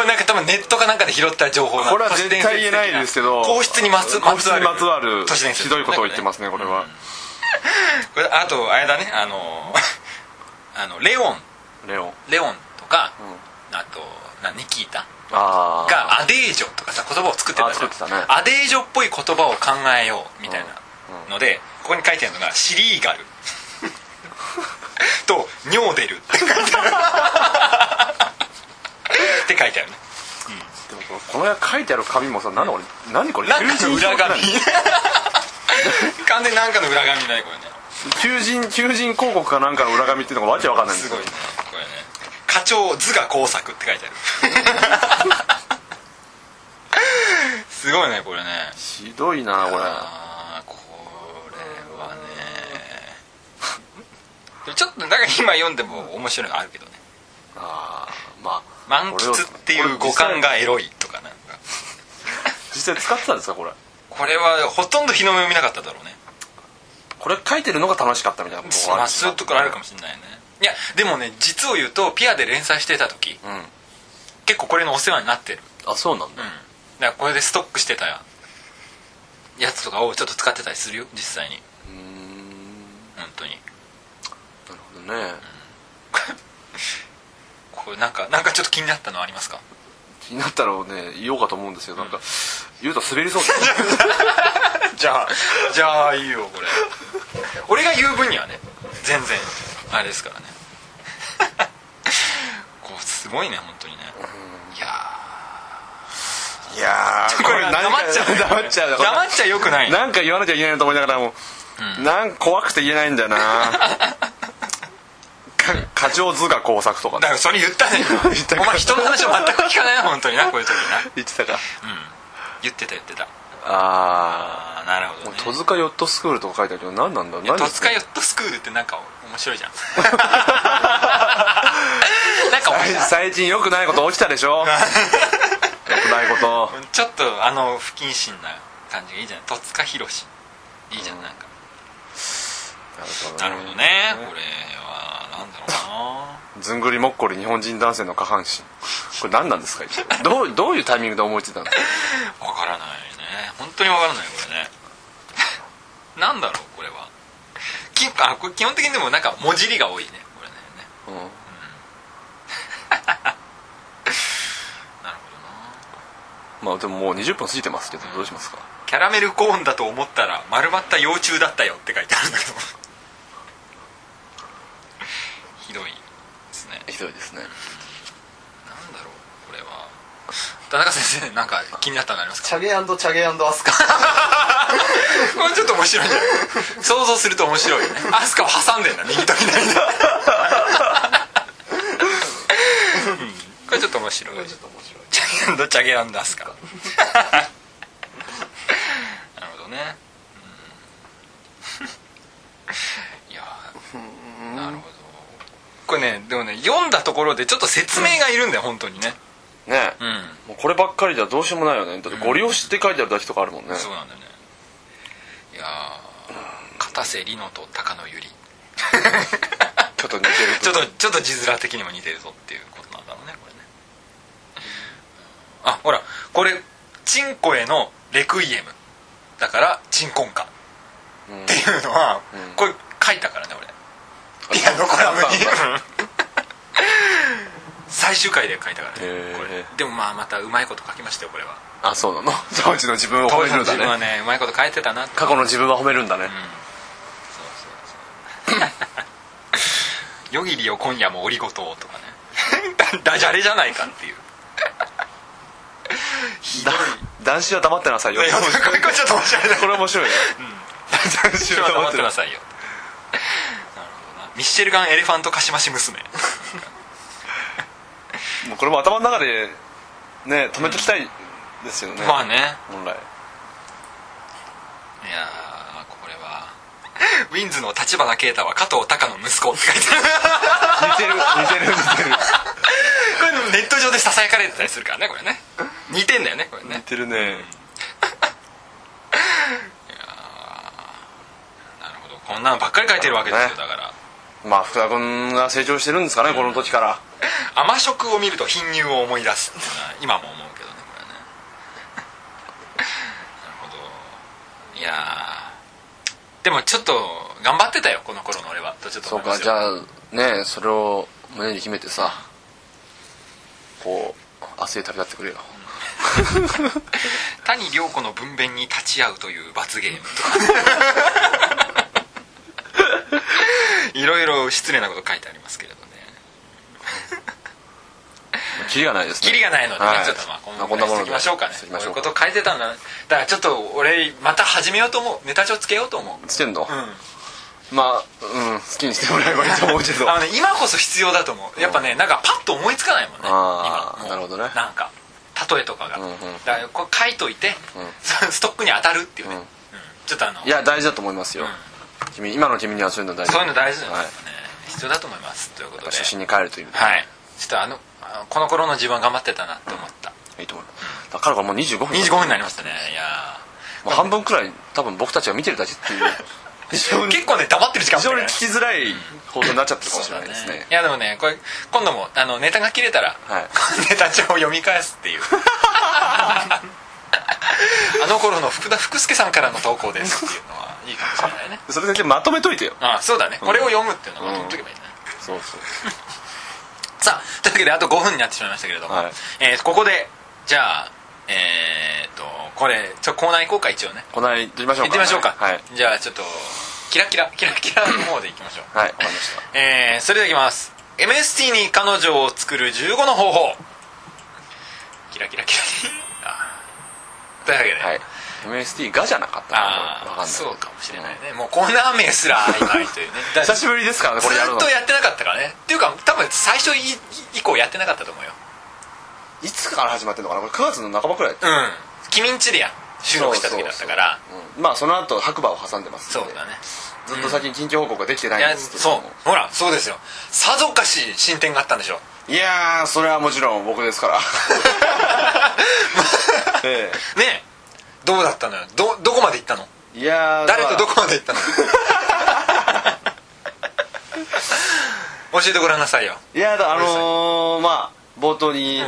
Speaker 1: れなんか多分ネットかなんかで拾った情報な
Speaker 2: これは絶対言えないですけど
Speaker 1: 皇室にまつ
Speaker 2: 皇室にまつわる
Speaker 1: 都市伝説
Speaker 2: ひどいことを言ってますねこれは
Speaker 1: これあとあれだねあの あのレオン
Speaker 2: レオン
Speaker 1: レオンとか、あと何ニキータ
Speaker 2: ああ
Speaker 1: がアデージョとかさ言葉を作ってたじゃん
Speaker 2: あ作ってたね
Speaker 1: アデージョっぽい言葉を考えようみたいなので、ここに書いてあるのが「シリーガル」 と「尿出る」って書いてあるって書いてあるね
Speaker 2: でも このこの書いてある紙もさ何だこれ何これ
Speaker 1: なんか裏
Speaker 2: 11
Speaker 1: 紙
Speaker 2: 章くらい
Speaker 1: 完全になんかの裏紙ないこれね
Speaker 2: 求人求人広告かなんかの裏紙っていうのがわけわかんないんですす
Speaker 1: ごい
Speaker 2: よ
Speaker 1: ねこれね課長図画工作って書いてあるすごいねこれね
Speaker 2: ひどいなこれ
Speaker 1: あーこれはねでもちょっとなんか今読んでも面白いのあるけどね
Speaker 2: あーまあ
Speaker 1: 満喫っていう五感がエロいとかなんか
Speaker 2: 実際使ってたんですかこれ
Speaker 1: これはほとんど日の目を見なかっただろうね
Speaker 2: これ書いてるのが楽しかったみたいなこと
Speaker 1: まあそういうところあるか
Speaker 2: も
Speaker 1: もしれないねいやでもね実を言うとピアで連載してた時
Speaker 2: うん
Speaker 1: 結構これのお世話になってる
Speaker 2: あそうなん
Speaker 1: う
Speaker 2: だ
Speaker 1: んだからこれでストックしてたやつとかをちょっと使ってたりするよ実際に
Speaker 2: うーん
Speaker 1: 本当に
Speaker 2: なるほどね
Speaker 1: これなんかなんかちょっと気になったのありますか
Speaker 2: 気になったらね言おうかと思うんですけどなんか言うと滑りそうだ
Speaker 1: じゃあじゃあいいよこれ俺が言う分にはね全然あれですからね こうすごいね本当にねいや
Speaker 2: いやー
Speaker 1: これ
Speaker 2: なんか
Speaker 1: 黙っちゃうね
Speaker 2: 黙っちゃう
Speaker 1: ー黙っちゃよくないね
Speaker 2: なんか言わなきゃいけないなと思いながらもう、なんか怖くて言えないん だよなか過剰図画工作とか
Speaker 1: だからそれ言ったね今
Speaker 2: 言ったか
Speaker 1: お前人の話を全く聞かないな本当になこういう時な
Speaker 2: 言ってたか
Speaker 1: 言ってた言ってた
Speaker 2: あ
Speaker 1: ああなるほ
Speaker 2: あ
Speaker 1: どね
Speaker 2: 戸塚ヨットスクールとか書いてあるけど何なんだろう何
Speaker 1: 戸
Speaker 2: です
Speaker 1: 塚
Speaker 2: か
Speaker 1: ヨットスクールってなんか面白い じゃんなんか面白い
Speaker 2: 最近よくないこと起きたでし ょよくないこと
Speaker 1: ちょっとあの不謹慎な感じがいいじゃない戸塚博士いいじゃんなんかなるほどねこれはなんだろうな
Speaker 2: ずんぐりもっこり日本人男性の下半身これ何なんですか一体どうどういうタイミングで思いついたんですか
Speaker 1: わからないね本当にわからないこれね なんだろうこれはきあこれ基本的にでもなんか文字りが多いねこれね
Speaker 2: うん
Speaker 1: なるほどな
Speaker 2: まあでももう20分過ぎてますけどどうしますか
Speaker 1: キャラメルコーンだと思ったら丸まった幼虫だったよって書いてあるんだけどひどいですね
Speaker 2: ひどいですね
Speaker 1: なんだろうこれは田中先生なんか気になったのありますか
Speaker 3: チャゲチャゲアスカ
Speaker 1: これちょっと面白いんじゃない想像すると面白いよねアスカを挟んでんだ右と左で、うんこれちょっと面白い
Speaker 3: ちょっと面白い
Speaker 1: チャゲチャゲアスカなるほどね、うんいやーなるほどこれねでもね読んだところでちょっと説明がいるんだよ本当にね
Speaker 2: ねえ
Speaker 1: うん
Speaker 2: もうこればっかりじゃどうしようもないよねだって「ご利用し」って書いてあるだけとかあるもんね
Speaker 1: そうなんだよねいやー片瀬里乃と高野 由里
Speaker 2: ちょっと似てる
Speaker 1: ちょっとちょっと字面的にも似てるぞっていうことなんだろうねこれねあほらこれチンコへのレクイエムだからチンコンカ
Speaker 2: うん
Speaker 1: っていうのは、
Speaker 2: うん
Speaker 1: これ書いたからね俺ピアノコラムに 最終回で書いたからね
Speaker 2: へー
Speaker 1: これでもまあまたうまいこと書きましたよこれは
Speaker 2: あそうなの当時の自分を褒
Speaker 1: 当
Speaker 2: め
Speaker 1: 時の
Speaker 2: るん
Speaker 1: 自
Speaker 2: だ
Speaker 1: 分は
Speaker 2: ね
Speaker 1: ねうまいこと書いてたなって
Speaker 2: 過去の自分は褒めるんだね
Speaker 1: そうそうそうよぎりよ今夜もおりごとうとかね ダダジャレじゃないかっていうひどい
Speaker 2: だ男子は黙ってなさいよ
Speaker 1: いやこれこれちょっと面白いね
Speaker 2: これ面白いね男
Speaker 1: 一
Speaker 2: 子
Speaker 1: 緒は
Speaker 2: は黙
Speaker 1: 黙
Speaker 2: っ
Speaker 1: ってて
Speaker 2: な
Speaker 1: な
Speaker 2: さい
Speaker 1: さいよなるほどなミッシェルガンエレファントカシマシ娘
Speaker 2: もうこれも頭の中でね止めときたいですよ ね
Speaker 1: まあね
Speaker 2: 本来
Speaker 1: いやーこれはウィンズの立花啓太は加藤隆の息子って書いてある
Speaker 2: 似てる似てる似て る
Speaker 1: これでもネット上でささやかれてたりするからねこれね似てんだよねこれね
Speaker 2: 似てるね
Speaker 1: なるほどこんなのばっかり書いてるわけですよ
Speaker 2: ね
Speaker 1: だから
Speaker 2: まあ福田君が成長してるんですかねこの時から
Speaker 1: 甘食を見ると貧乳を思い出すっていうのは今も思うけどねこれねなるほどいやーでもちょっと頑張ってたよこの頃の俺はとちょっと
Speaker 2: そう
Speaker 1: 思いま
Speaker 2: か
Speaker 1: す
Speaker 2: じ
Speaker 1: よ
Speaker 2: ゃあねそれを胸に秘めてさこう明日へ旅立ってくれよ
Speaker 1: 谷涼子の分娩に立ち会うという罰ゲームとか いろいろ失礼なこと書いてありますけれどね
Speaker 2: キリがないですね
Speaker 1: キリがないのでね、
Speaker 2: はい
Speaker 1: ちょっとまあこんな
Speaker 2: こ
Speaker 1: こ
Speaker 2: ん
Speaker 1: ん
Speaker 2: な
Speaker 1: な
Speaker 2: も
Speaker 1: も
Speaker 2: の
Speaker 1: ので
Speaker 2: で
Speaker 1: いきましょうかね
Speaker 2: しときま
Speaker 1: こ
Speaker 2: し
Speaker 1: う
Speaker 2: ょ
Speaker 1: いううこと書いてたんだねだからちょっと俺また始めようと思うネタ帳つけようと思う
Speaker 2: つけんの、
Speaker 1: うん
Speaker 2: まあうん好きにしてもらえばいいと思う けど
Speaker 1: あのね、今こそ必要だと思うやっぱねなんかパッと思いつかないもんね
Speaker 2: あ
Speaker 1: 今もう
Speaker 2: ーなるほどね
Speaker 1: なんか例えとかが、
Speaker 2: うんうんうん
Speaker 1: だからこれ書いといて、ストックに当たるっていうね、
Speaker 2: うん
Speaker 1: うんちょっとあの
Speaker 2: いや大事だと思いますよ、君今の君にはそういうの大事
Speaker 1: そういうの大事なんですよ
Speaker 2: はい
Speaker 1: ね、必要だと思いますということで
Speaker 2: 初心に帰るという意味で
Speaker 1: はいちょっとあのあのこの頃の自分は頑張ってたなって思った、
Speaker 2: いいと思いますだからこれもう25分
Speaker 1: 25分になりましたねいや
Speaker 2: もう半分くらい多分僕たちが見てるだけっていう 非常
Speaker 1: ー
Speaker 2: に
Speaker 1: 結構ね黙ってる時間
Speaker 2: 非常に
Speaker 1: ね
Speaker 2: 聞きづらい放送になっちゃったかもしれないです
Speaker 1: そうだ
Speaker 2: ね
Speaker 1: いやでもねこれ今度もあのネタが切れたら、
Speaker 2: はい
Speaker 1: ネタ帳を読み返すっていう あの頃の福田福助さんからの投稿ですっていうのはいいかもしれないね
Speaker 2: それだけまとめといてよ
Speaker 1: ああそうだねこれを読むっていうのは
Speaker 2: うん
Speaker 1: 取っとけばいいね、
Speaker 2: そうそう
Speaker 1: さあというわけであと5分になってしまいましたけれども、
Speaker 2: はい
Speaker 1: えーここでじゃあえー、っとこれちょコーナー行こうか一応ね
Speaker 2: こない行ってみましょう
Speaker 1: 行
Speaker 2: か
Speaker 1: ってみましょうか、
Speaker 2: はい
Speaker 1: じゃあちょっとキラキラキラキラの方で行きましょう
Speaker 2: はいわかりました
Speaker 1: えー、それではいきます MST に彼女を作る15の方法キラキラキラキラあーというわけで、
Speaker 2: はい MST がじゃなかったなわかん
Speaker 1: あ
Speaker 2: な
Speaker 1: あ
Speaker 2: い
Speaker 1: そうかもしれないね、もうコーナー名すら曖昧という ねだ
Speaker 2: 久しぶりですからねこれやる
Speaker 1: ず
Speaker 2: の
Speaker 1: っとやってなかったからねっていうか多分最初い以降やってなかったと思うよ
Speaker 2: いつから始まってんのかなこれ9月の半ばくらい
Speaker 1: うん君んちでや収録した時だったから
Speaker 2: そうそうそううんまあその後白馬を挟んでますん
Speaker 1: そう
Speaker 2: で
Speaker 1: だね
Speaker 2: ずっと先に緊急報告ができてないいん
Speaker 1: や
Speaker 2: ですけど
Speaker 1: そう
Speaker 2: も
Speaker 1: ほらそうですよさぞかし進展があったんでしょう
Speaker 2: いやーそれはもちろん僕で すからえ
Speaker 1: ねえどうだったのよどどこまで行ったの
Speaker 2: えいやー
Speaker 1: 誰とど
Speaker 2: こ
Speaker 1: こまで行ったの教えてごらんなさいよ、
Speaker 2: いやだあのー、まあ冒頭に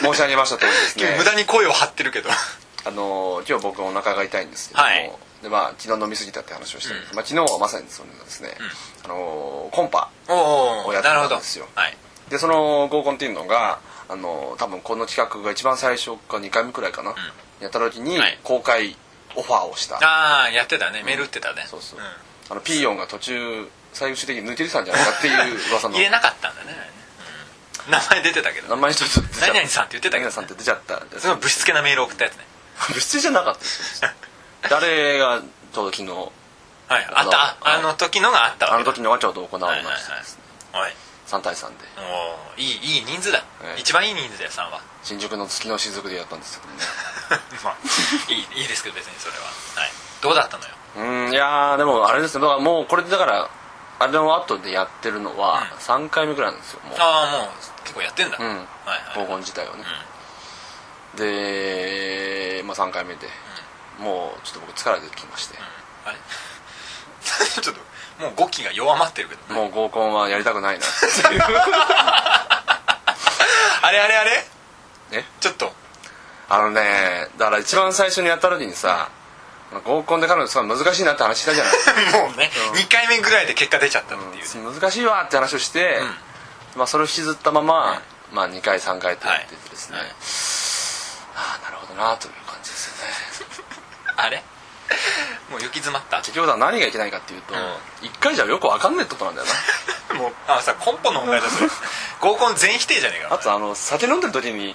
Speaker 2: 申し上げました通りで すね
Speaker 1: 無駄に声を張ってるけど
Speaker 2: あのー今日僕はお腹が痛いんですけども、
Speaker 1: はい
Speaker 2: でまあ、昨日飲みすぎたって話をしてるんです、まあ、昨日はまさにそれなんですね、あのーコンパ
Speaker 1: お
Speaker 2: お
Speaker 1: お
Speaker 2: やって
Speaker 1: なる
Speaker 2: た
Speaker 1: ほど
Speaker 2: んですよ
Speaker 1: はい、
Speaker 2: でその合コンっていうのがあの多分この企画が一番最初か2回目くらいかな、やった時に
Speaker 1: はい
Speaker 2: 公開オファーをした、
Speaker 1: ああやってたねメール打ってたね、
Speaker 2: そうそう、
Speaker 1: ん
Speaker 2: あのピーヨンが途中最終的に抜けてたんじゃないかっていう噂の
Speaker 1: 入れなかったんだね、うん名前出てたけ
Speaker 2: 名
Speaker 1: ど
Speaker 2: 前一つ出ちゃ
Speaker 1: 何々さんって言ってた
Speaker 2: 何
Speaker 1: けど
Speaker 2: 々さんって出ちゃった
Speaker 1: すごいぶしつけなメールを送ったやつね
Speaker 2: 物質じゃなかったですよ誰がちょうど昨日
Speaker 1: はいあったあ
Speaker 2: は
Speaker 1: あ
Speaker 2: い
Speaker 1: の時のがあったわ
Speaker 2: あ
Speaker 1: け
Speaker 2: の時のはちょうど行わ
Speaker 1: はいは
Speaker 2: れ
Speaker 1: いはい
Speaker 2: ました、
Speaker 1: はい
Speaker 2: 3対3で
Speaker 1: おーいいいい人数だ、
Speaker 2: ええ
Speaker 1: 一番いい人数だよ3は
Speaker 2: 新宿の月の雫でやったんですけどね
Speaker 1: まあいいいいですけど別にそれは、はい、どうだったのよ
Speaker 2: うんいやーでもあれですねだからもうこれでだからあれの後でやってるのは
Speaker 1: うん
Speaker 2: 3回目くらいなんですよもう
Speaker 1: ああもう結構やってんだ、
Speaker 2: う
Speaker 1: は
Speaker 2: ん
Speaker 1: いは
Speaker 2: 合
Speaker 1: い
Speaker 2: コン自体をね、で、まあ、3回目で、もうちょっと僕疲れてきまして、
Speaker 1: あれ ちょっともう語気が弱まってる けど
Speaker 2: もう合コンはやりたくないな
Speaker 1: あれあれあれ
Speaker 2: え
Speaker 1: ちょっと
Speaker 2: あのねだから一番最初にやった時にさ合コンで彼女すごい難しいなって話したじゃないですか
Speaker 1: もうね、二2回目ぐらいで結果出ちゃったっていうね、
Speaker 2: 難しいわって話をして、まあ、それを引きずったまま、まあ、2回3回ってやっててですね、
Speaker 1: はいはい
Speaker 2: ああなるほどなという感じですよね
Speaker 1: あれもう行き詰まった
Speaker 2: 結局だから何がいけないかっていうと、一1回じゃよくわかんねえってことなんだよな
Speaker 1: もうあのさコンポの問題だ それ合コン全否定じゃねえか
Speaker 2: あとあの酒飲んでる時に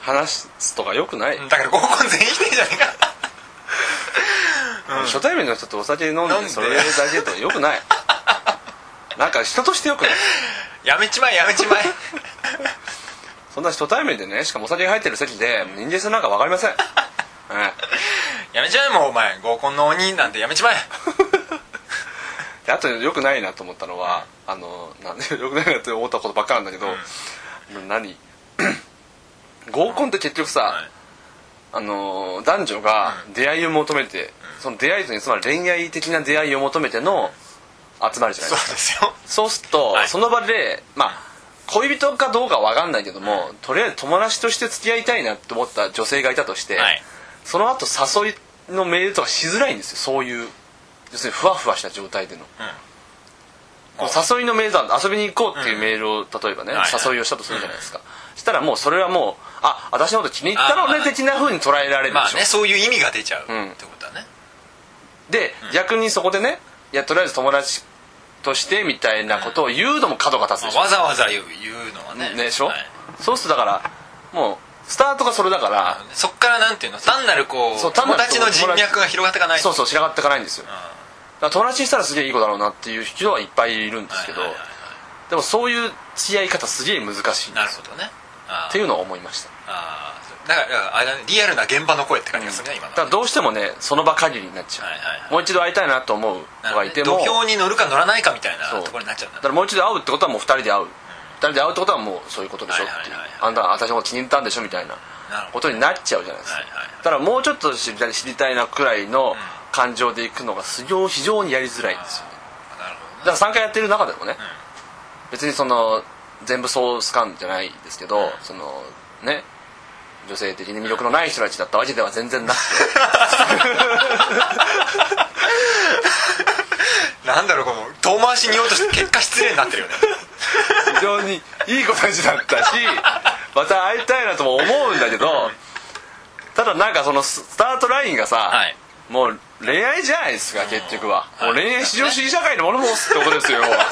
Speaker 2: 話すとかよくない、
Speaker 1: だから合コン全否定じゃねえか
Speaker 2: 初対面の人とお酒飲ん
Speaker 1: 飲ん
Speaker 2: で
Speaker 1: で
Speaker 2: それだけとよくないなんか人としてよくない
Speaker 1: やめちまえやめち まえ
Speaker 2: そんな初対面でねしかもお酒が入ってる席で人間性なんかわかりま せん、え
Speaker 1: やめちまえもうお前合コンの鬼なんてやめちまえ
Speaker 2: えであとよくないなと思ったのはあのなんでよくないなって思ったことばっかなんだけど、何合コンって結局さ、
Speaker 1: はい
Speaker 2: あのー男女が出会いを求めて、その出会いというのはつまり恋愛的な出会いを求めての集まりじゃな
Speaker 1: そ
Speaker 2: いで
Speaker 1: う
Speaker 2: すか
Speaker 1: ですよ
Speaker 2: そうすると、
Speaker 1: はい
Speaker 2: その場でまあ恋人かどうかは分かんないけども、とりあえず友達として付き合いたいなと思った女性がいたとして、
Speaker 1: はい
Speaker 2: その後誘いのメールとかしづらいんですよそういう要するにふわふわした状態での、こう誘いのメールだ遊びに行こうっていうメールを、例えばね、
Speaker 1: はいはい
Speaker 2: 誘いをしたとするじゃないですか、したらもうそれはもうあ私のこと気に入ったろうね
Speaker 1: あー
Speaker 2: 的な風に捉えられるでしょ、
Speaker 1: まあねそういう意味が出ちゃう、
Speaker 2: ん
Speaker 1: ってことだね
Speaker 2: で、逆にそこでねいやとりあえず友達としてみたいなことを言うのも角が立つでしょ、
Speaker 1: わざわざ言う言うのはね
Speaker 2: でしょ、
Speaker 1: はい
Speaker 2: そうするとだからもうスタートがそれだから
Speaker 1: そっからなんていうの単なるこう
Speaker 2: そう単な
Speaker 1: 友
Speaker 2: る
Speaker 1: 達の人脈が広がっていかない
Speaker 2: そうそう散らかっていかないんですよだから友達にしたらすげえいい子だろうなっていう人はいっぱいいるんですけど
Speaker 1: はいはいはいは
Speaker 2: でもそういう付き合い方すげえ難しいんですよ
Speaker 1: なるほどねあ
Speaker 2: っ
Speaker 1: ー
Speaker 2: ていうのは思いました
Speaker 1: あーだからだからあれだねリアルな現場の声って感じがするね、今の
Speaker 2: だからどうしてもねその場限りになっちゃう、
Speaker 1: はいはいはい
Speaker 2: もう一度会いたいなと思う子がいて
Speaker 1: なる
Speaker 2: も
Speaker 1: ほどね土俵に乗るか乗らないかみたいな
Speaker 2: そう
Speaker 1: ところになっちゃうんだ
Speaker 2: だからもう一度会うってことはもう二人で会う二人で会うってことはもうそういうことでしょっていう
Speaker 1: はいはいはい
Speaker 2: あんた私のこと気に入ったんでしょみたいな
Speaker 1: なるほ
Speaker 2: こ
Speaker 1: ど
Speaker 2: とになっちゃうじゃないですか、
Speaker 1: はいはいはい
Speaker 2: だからもうちょっと知りたい知りたいなくらいの感情でいくのが非常非常にやりづらいんですよね
Speaker 1: なるほど
Speaker 2: だから3回やってる中でもね、別にその全部ソース感じゃないですけど、そのね女性的に魅力のない人たちだったわけでは全然な くて
Speaker 1: なんだろうこの遠回しに言おうとして結果失礼になってるよね
Speaker 2: 非常にいい子たちだっ たしまた会いたいなとも思うんだけどただなんかそのススタートラインがさ、
Speaker 1: はい
Speaker 2: もう恋愛じゃないですか結局は、
Speaker 1: はい
Speaker 2: もう恋愛至上主義社会のものもすってことですよ要は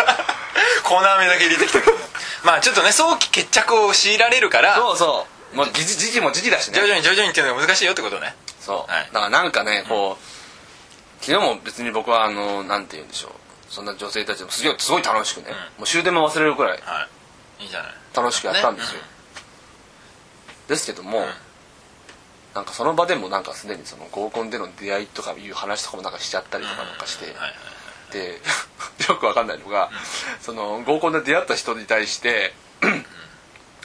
Speaker 1: コーナー目だけ入れてきたけどまあちょっとね早期決着を強いられるから
Speaker 2: そうそうもう時期時期も時期だしね
Speaker 1: 徐々に徐々にっていうのが難しいよってことね
Speaker 2: そう、
Speaker 1: はい
Speaker 2: だからなんかねこう昨日も別に僕はあのなんて言うんでしょうそんな女性たちもすごいすごい楽しくね、もう終電も忘れるくらい
Speaker 1: はいいいじゃない
Speaker 2: 楽しくやったんですよ、ですけども、なんかその場でもなんかすでにその合コンでの出会いとかいう話とかもなんかしちゃったりとかなんかして、
Speaker 1: うんはいはい
Speaker 2: で よくわかんないのが、その合コンで出会った人に対して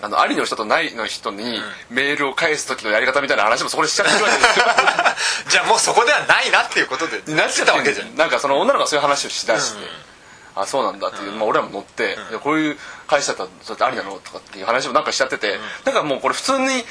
Speaker 2: あのありの人とないの人にメールを返す時のやり方みたいな話もそこでしちゃってるわけですよ
Speaker 1: じゃあもうそこではないなっていうことで
Speaker 2: なっちゃったわけじゃ
Speaker 1: ん
Speaker 2: んなんかその女の子がそういう話をしだして、あそうなんだっていう、まあ、俺らも乗って、いやこういう会社だったらそれってありなのとかっていう話もなんかしちゃってて、なんかもうこれ普通に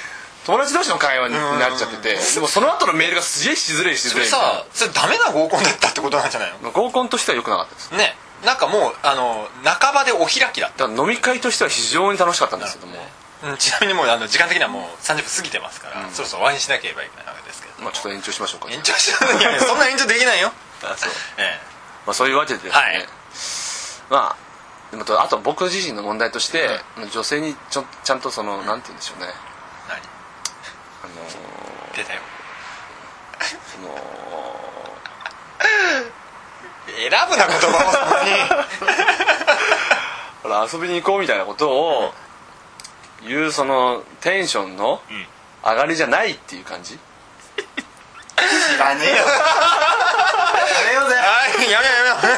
Speaker 2: 友達同士の会話になっちゃってて、でもその後のメールがすげえしづれいし
Speaker 1: そ
Speaker 2: づ
Speaker 1: れ
Speaker 2: れいみたい
Speaker 1: さそれダメな合コンだったってことなんじゃないの
Speaker 2: な合コンとしては良くなかったです
Speaker 1: ねなんかもうあの半ばでお開きだっ
Speaker 2: だから飲み会としては非常に楽しかったんですけども
Speaker 1: た、うん、ちなみにもうあの時間的にはもう30分過ぎてますから、そろそろ終わりにしなければいけないわけですけど
Speaker 2: まあちょっと延長しましょうか
Speaker 1: 延長しないやいやそんな延長できない よ、
Speaker 2: あそう
Speaker 1: え
Speaker 2: まあ、そういうわけでですね、
Speaker 1: はい
Speaker 2: まあでもとあと僕自身の問題として、女性にちょちゃんとその、なんて言うんでしょうね
Speaker 1: え
Speaker 2: あのー
Speaker 1: 何出たよ
Speaker 2: その
Speaker 1: 選ぶな言 葉を
Speaker 2: ほら遊びに行こうみたいなことを言うそのテンションの上がりじゃないっていう感じ
Speaker 3: 知らねえよやめようぜ
Speaker 1: はいやめようやめよう 終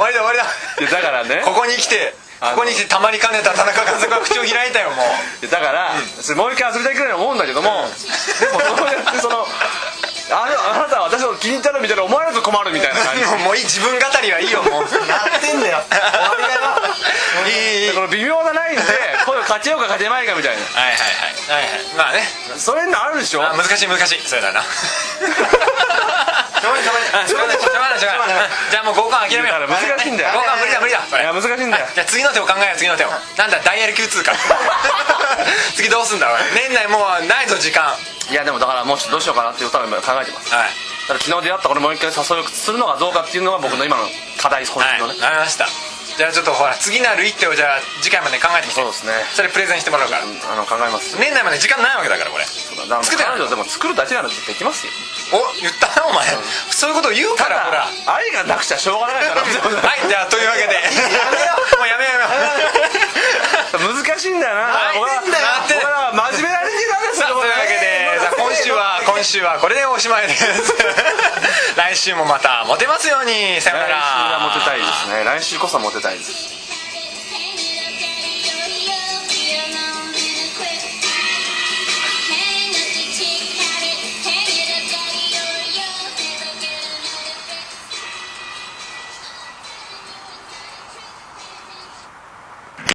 Speaker 1: わりだ終わりだ
Speaker 2: いやだからね
Speaker 1: ここに来て
Speaker 2: あの
Speaker 1: ここに来てたまりかねた田中和子が口を開いたよもう
Speaker 2: いやだから、それもう一回遊びたいくらいに思うんだけども、でもそうやってそのあのあなたは私の気に入ったのみたいな思われると困るみたいな感じ
Speaker 1: もうもういい自分語りはいいよもう
Speaker 3: やってんだよ終わりだよ
Speaker 1: いいいい
Speaker 2: でこの微妙な ラインで声をかけようかかけまいかみたいな
Speaker 1: はいはいはいはいはいまあね
Speaker 2: それのあるでしょ
Speaker 1: あ難しい難しいそれだ なしょうがないしょうがないしょうがないしょうがないしょうがないうんじゃあもう合コン諦めよう
Speaker 2: だから難しいんだよ
Speaker 1: 合コンは無理だ無理だそ
Speaker 2: い
Speaker 1: れ
Speaker 2: や難しいんだよ
Speaker 1: じゃあ次の手を考えよう次の手をなんだダイヤル Q2 か次どうすんだろう年内もうないぞ時間はい
Speaker 2: やでもだからもうちょっとどうしようかなっていうことは今考えてます
Speaker 1: い
Speaker 2: だから昨日出会ったこれもう一回誘いをするのがどうかっていうのが僕の今の課題本
Speaker 1: はい
Speaker 2: 質の
Speaker 1: わか
Speaker 2: ね、
Speaker 1: りましたじゃあちょっとほら次なる一手をじゃあ次回まで考えてきて
Speaker 2: そうですね
Speaker 1: それプレゼンしてもらうから
Speaker 2: あの考えます
Speaker 1: 年内まで時間ないわけだからこれ
Speaker 2: だから
Speaker 1: 作ってない
Speaker 2: 彼女でも作るだけならできますよ
Speaker 1: お言ったなお前そういうことを言うか
Speaker 2: た
Speaker 1: らほら
Speaker 2: だ愛がなくちゃしょうがないから
Speaker 1: はいじゃあというわけでやめよもうやめようやめよう
Speaker 2: 難しいんだよな
Speaker 1: はい
Speaker 2: 俺は
Speaker 1: なんで
Speaker 2: 俺は真面目な人間なんです
Speaker 1: さあというわけ でさあ今週は今週はこれでおしまい です来週もまたモテますようにさよなら
Speaker 2: 来週はモテたいですね来週こそモテたいです